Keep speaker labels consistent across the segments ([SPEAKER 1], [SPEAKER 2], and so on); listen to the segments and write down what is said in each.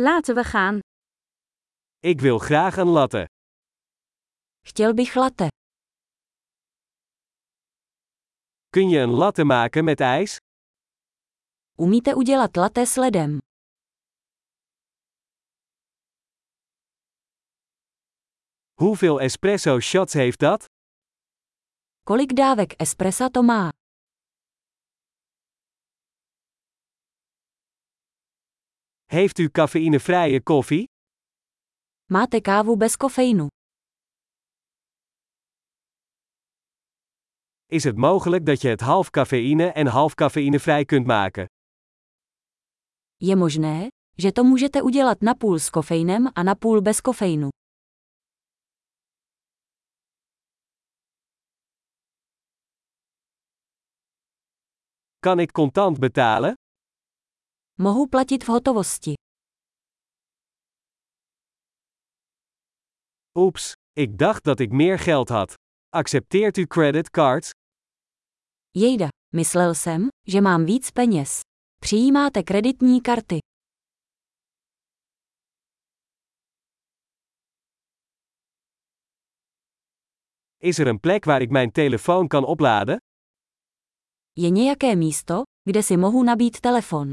[SPEAKER 1] Laten we gaan.
[SPEAKER 2] Ik wil graag een latte.
[SPEAKER 3] Chtěl bych latte.
[SPEAKER 2] Kun je een latte maken met ijs?
[SPEAKER 3] Umíte udělat latte s ledem?
[SPEAKER 2] Hoeveel espresso shots heeft dat?
[SPEAKER 3] Kolik dávek espressa to má?
[SPEAKER 2] Heeft u cafeïnevrije koffie?
[SPEAKER 3] Máte kávu bez kofeinu?
[SPEAKER 2] Is het mogelijk dat je het half cafeïne en half cafeïnevrij kunt maken?
[SPEAKER 3] Je možné, že to můžete udělat napůl s kofeinem a napůl bez kofeinu.
[SPEAKER 2] Kan ik contant betalen?
[SPEAKER 3] Mohu platit v hotovosti.
[SPEAKER 2] Oeps, ik dacht dat ik meer geld had. Accepteert u creditcards?
[SPEAKER 3] Jejda, myslel jsem, že mám víc peněz. Přijímáte kreditní karty.
[SPEAKER 2] Is er een plek waar ik mijn telefoon kan opladen?
[SPEAKER 3] Je nějaké místo, kde si mohu nabít telefon.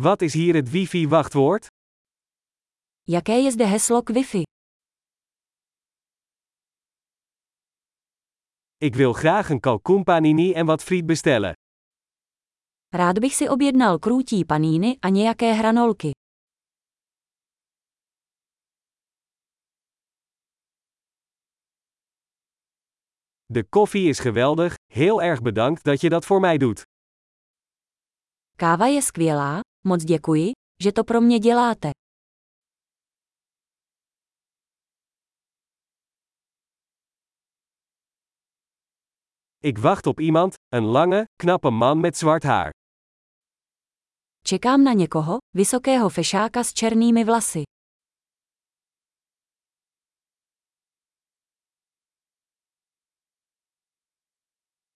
[SPEAKER 2] Wat is hier het wifi-wachtwoord?
[SPEAKER 3] Jaké je zde heslo k Wi-Fi?
[SPEAKER 2] Ik wil graag een kalkoen panini en wat friet bestellen.
[SPEAKER 3] Rád bych si objednal krůtí paníny a nějaké hranolky.
[SPEAKER 2] De koffie is geweldig, heel erg bedankt dat je dat voor mij doet.
[SPEAKER 3] Káva je skvělá, moc děkuji, že to pro mě děláte.
[SPEAKER 2] Ik wacht op iemand, een lange, knappe man met zwart haar.
[SPEAKER 3] Čekám na někoho, vysokého fešáka s černými vlasy.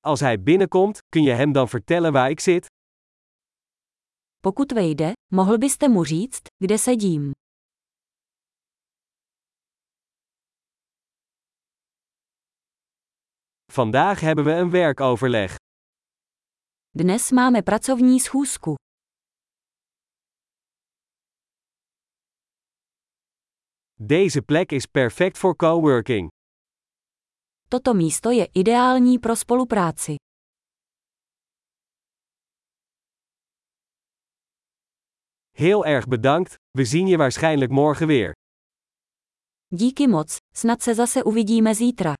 [SPEAKER 2] Als hij binnenkomt, kun je hem dan vertellen waar ik zit?
[SPEAKER 3] Pokud vejde, mohl byste mu říct, kde sedím.
[SPEAKER 2] Vandaag hebben we een werkoverleg.
[SPEAKER 3] Dnes máme pracovní schůzku.
[SPEAKER 2] Deze plek is perfect voor coworking.
[SPEAKER 3] Toto místo je ideální pro spolupráci.
[SPEAKER 2] Heel erg bedankt, we zien je waarschijnlijk morgen weer.
[SPEAKER 3] Díky moc, snad se zase uvidíme zítra.